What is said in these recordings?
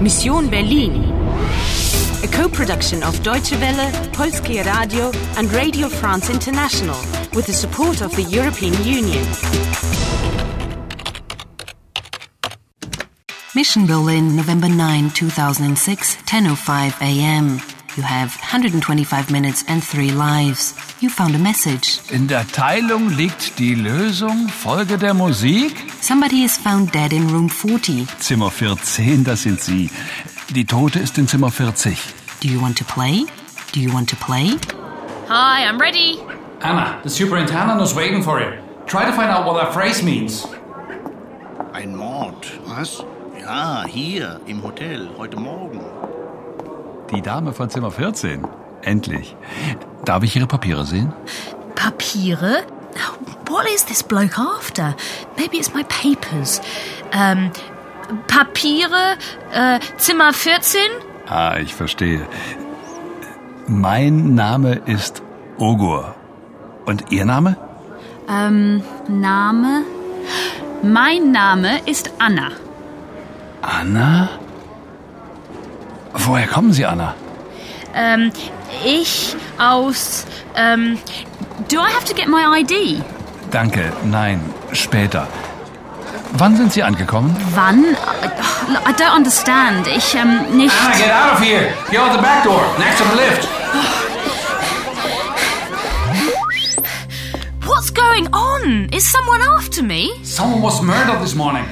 Mission Berlin. A co-production of Deutsche Welle, Polskie Radio and Radio France International with the support of the European Union. Mission Berlin, November 9, 2006, 10.05 a.m. You have 125 minutes and three lives. You found a message. In der Teilung liegt die Lösung. Folge der Musik. Somebody is found dead in room 40. Zimmer 14, das sind Sie. Die Tote ist in Zimmer 40. Do you want to play? Do you want to play? Hi, I'm ready. Anna, the superintendent is waiting for you. Try to find out what that phrase means. Ein Mord. Was? Ja, hier im Hotel, heute Morgen. Die Dame von Zimmer 14. Endlich. Darf ich Ihre Papiere sehen? Papiere? What is this bloke after? Maybe it's my papers. Ähm, Papiere, äh, Zimmer 14? Ah, ich verstehe. Mein Name ist Ogur. Und Ihr Name? Ähm, Name? Mein Name ist Anna. Anna? Woher kommen Sie, Anna? Ähm, ich aus, ähm, Do I have to get my ID? Danke, nein, später. Wann sind Sie angekommen? Wann? I don't understand. Ich, ähm, nicht. Anna, get out of here! Go out the back door, next to the lift! what's going on? Is someone after me? Someone was murdered this morning.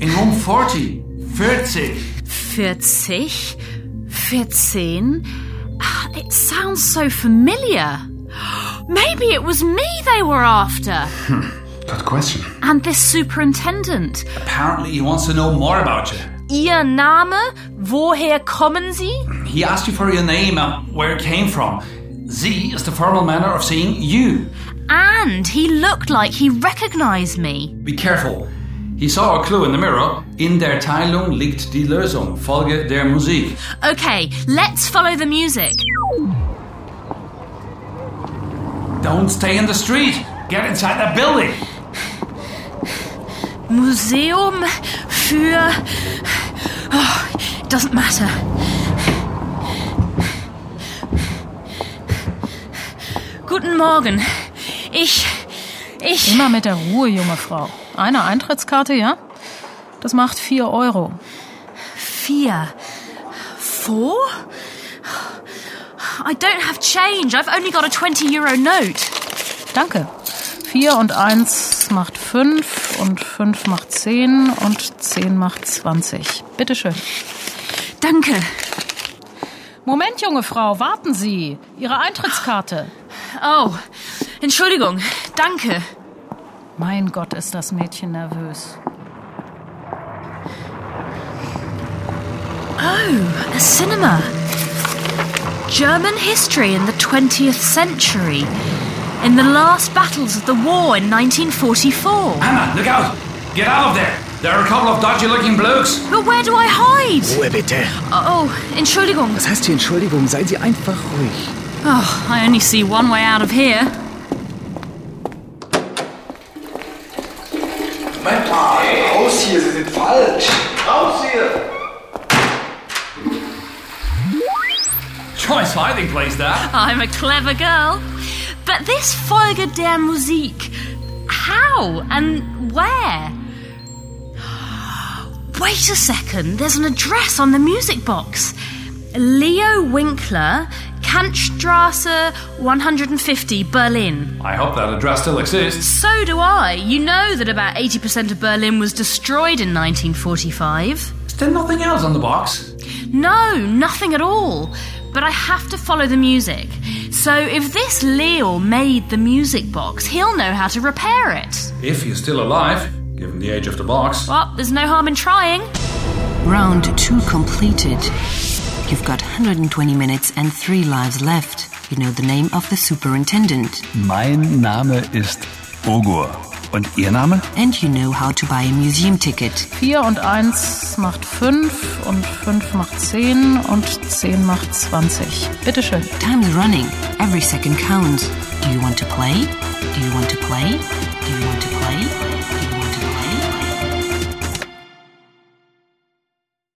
In room 40. 40. 40? 14? Ah, It sounds so familiar. Maybe it was me they were after. Good question. And this superintendent. Apparently he wants to know more about you. Ihr Name? Woher kommen Sie? He asked you for your name and where it came from. Z is the formal manner of saying you. And he looked like he recognized me. Be careful. He saw a clue in the mirror. In der Teilung liegt die Lösung. Folge der Musik. Okay, let's follow the music. Don't stay in the street. Get inside the building. Museum für. Oh, doesn't matter. Guten Morgen. Ich. Ich. Immer mit der Ruhe, junge Frau. Eine Eintrittskarte, ja? Das macht vier Euro. Vier. Four? I don't have change. I've only got a 20 euro note. Danke. Vier und eins macht fünf und fünf macht zehn und zehn macht zwanzig. Bitteschön. Danke. Moment, junge Frau, warten Sie. Ihre Eintrittskarte. Oh, Entschuldigung. Danke. Mein Gott, ist das Mädchen nervös. A cinema. German history in the 20th century. In the last battles of the war in 1944. Anna, look out! Get out of there! There are a couple of dodgy looking blokes. But where do I hide? Ruhe bitte. Oh, Entschuldigung. Was heißt hier Entschuldigung? Seien Sie einfach ruhig. Oh, I only see one way out of here. Moment mal, raus hier, Sie sind falsch. Raus hier! Choice hiding place there. I'm a clever girl. But this Folge der Musik, how and where? Wait a second, there's an address on the music box Leo Winkler, Kantstrasse 150, Berlin. I hope that address still exists. So do I. You know that about 80% of Berlin was destroyed in 1945. Is there nothing else on the box? No, nothing at all. But I have to follow the music. So if this Leo made the music box, he'll know how to repair it. If he's still alive, given the age of the box. Well, there's no harm in trying. Round 2 completed. You've got 120 minutes and three lives left. You know the name of the superintendent. Mein Name ist Ogur. Und Ihr Name? And you know how to buy a museum ticket. Vier und eins macht fünf und fünf macht zehn und zehn macht zwanzig. Bitteschön. Time's running. Every second counts. Do you want to play? Do you want to play? Do you want to